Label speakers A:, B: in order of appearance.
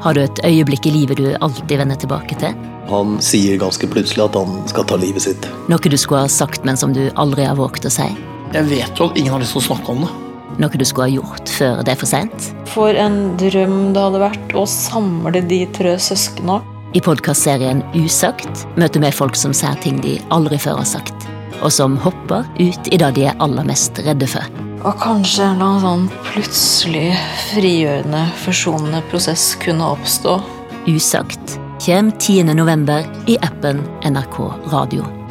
A: Har du et øyeblikk i livet du alltid vender tilbake til?
B: Han sier ganske plutselig at han skal ta livet sitt.
A: Noe du skulle ha sagt, men som du aldri har våget å si?
C: Jeg vet jo at ingen har lyst til å snakke om det.
A: Noe du skulle ha gjort før det er for seint?
D: For en drøm det hadde vært å samle de tre søskna.
A: I podkastserien Usagt møter vi folk som sier ting de aldri før har sagt, og som hopper ut i det de er aller mest redde for.
D: Og kanskje en eller annen sånn plutselig frigjørende, forsonende prosess kunne oppstå.
A: Usagt kommer 10. november i appen NRK Radio.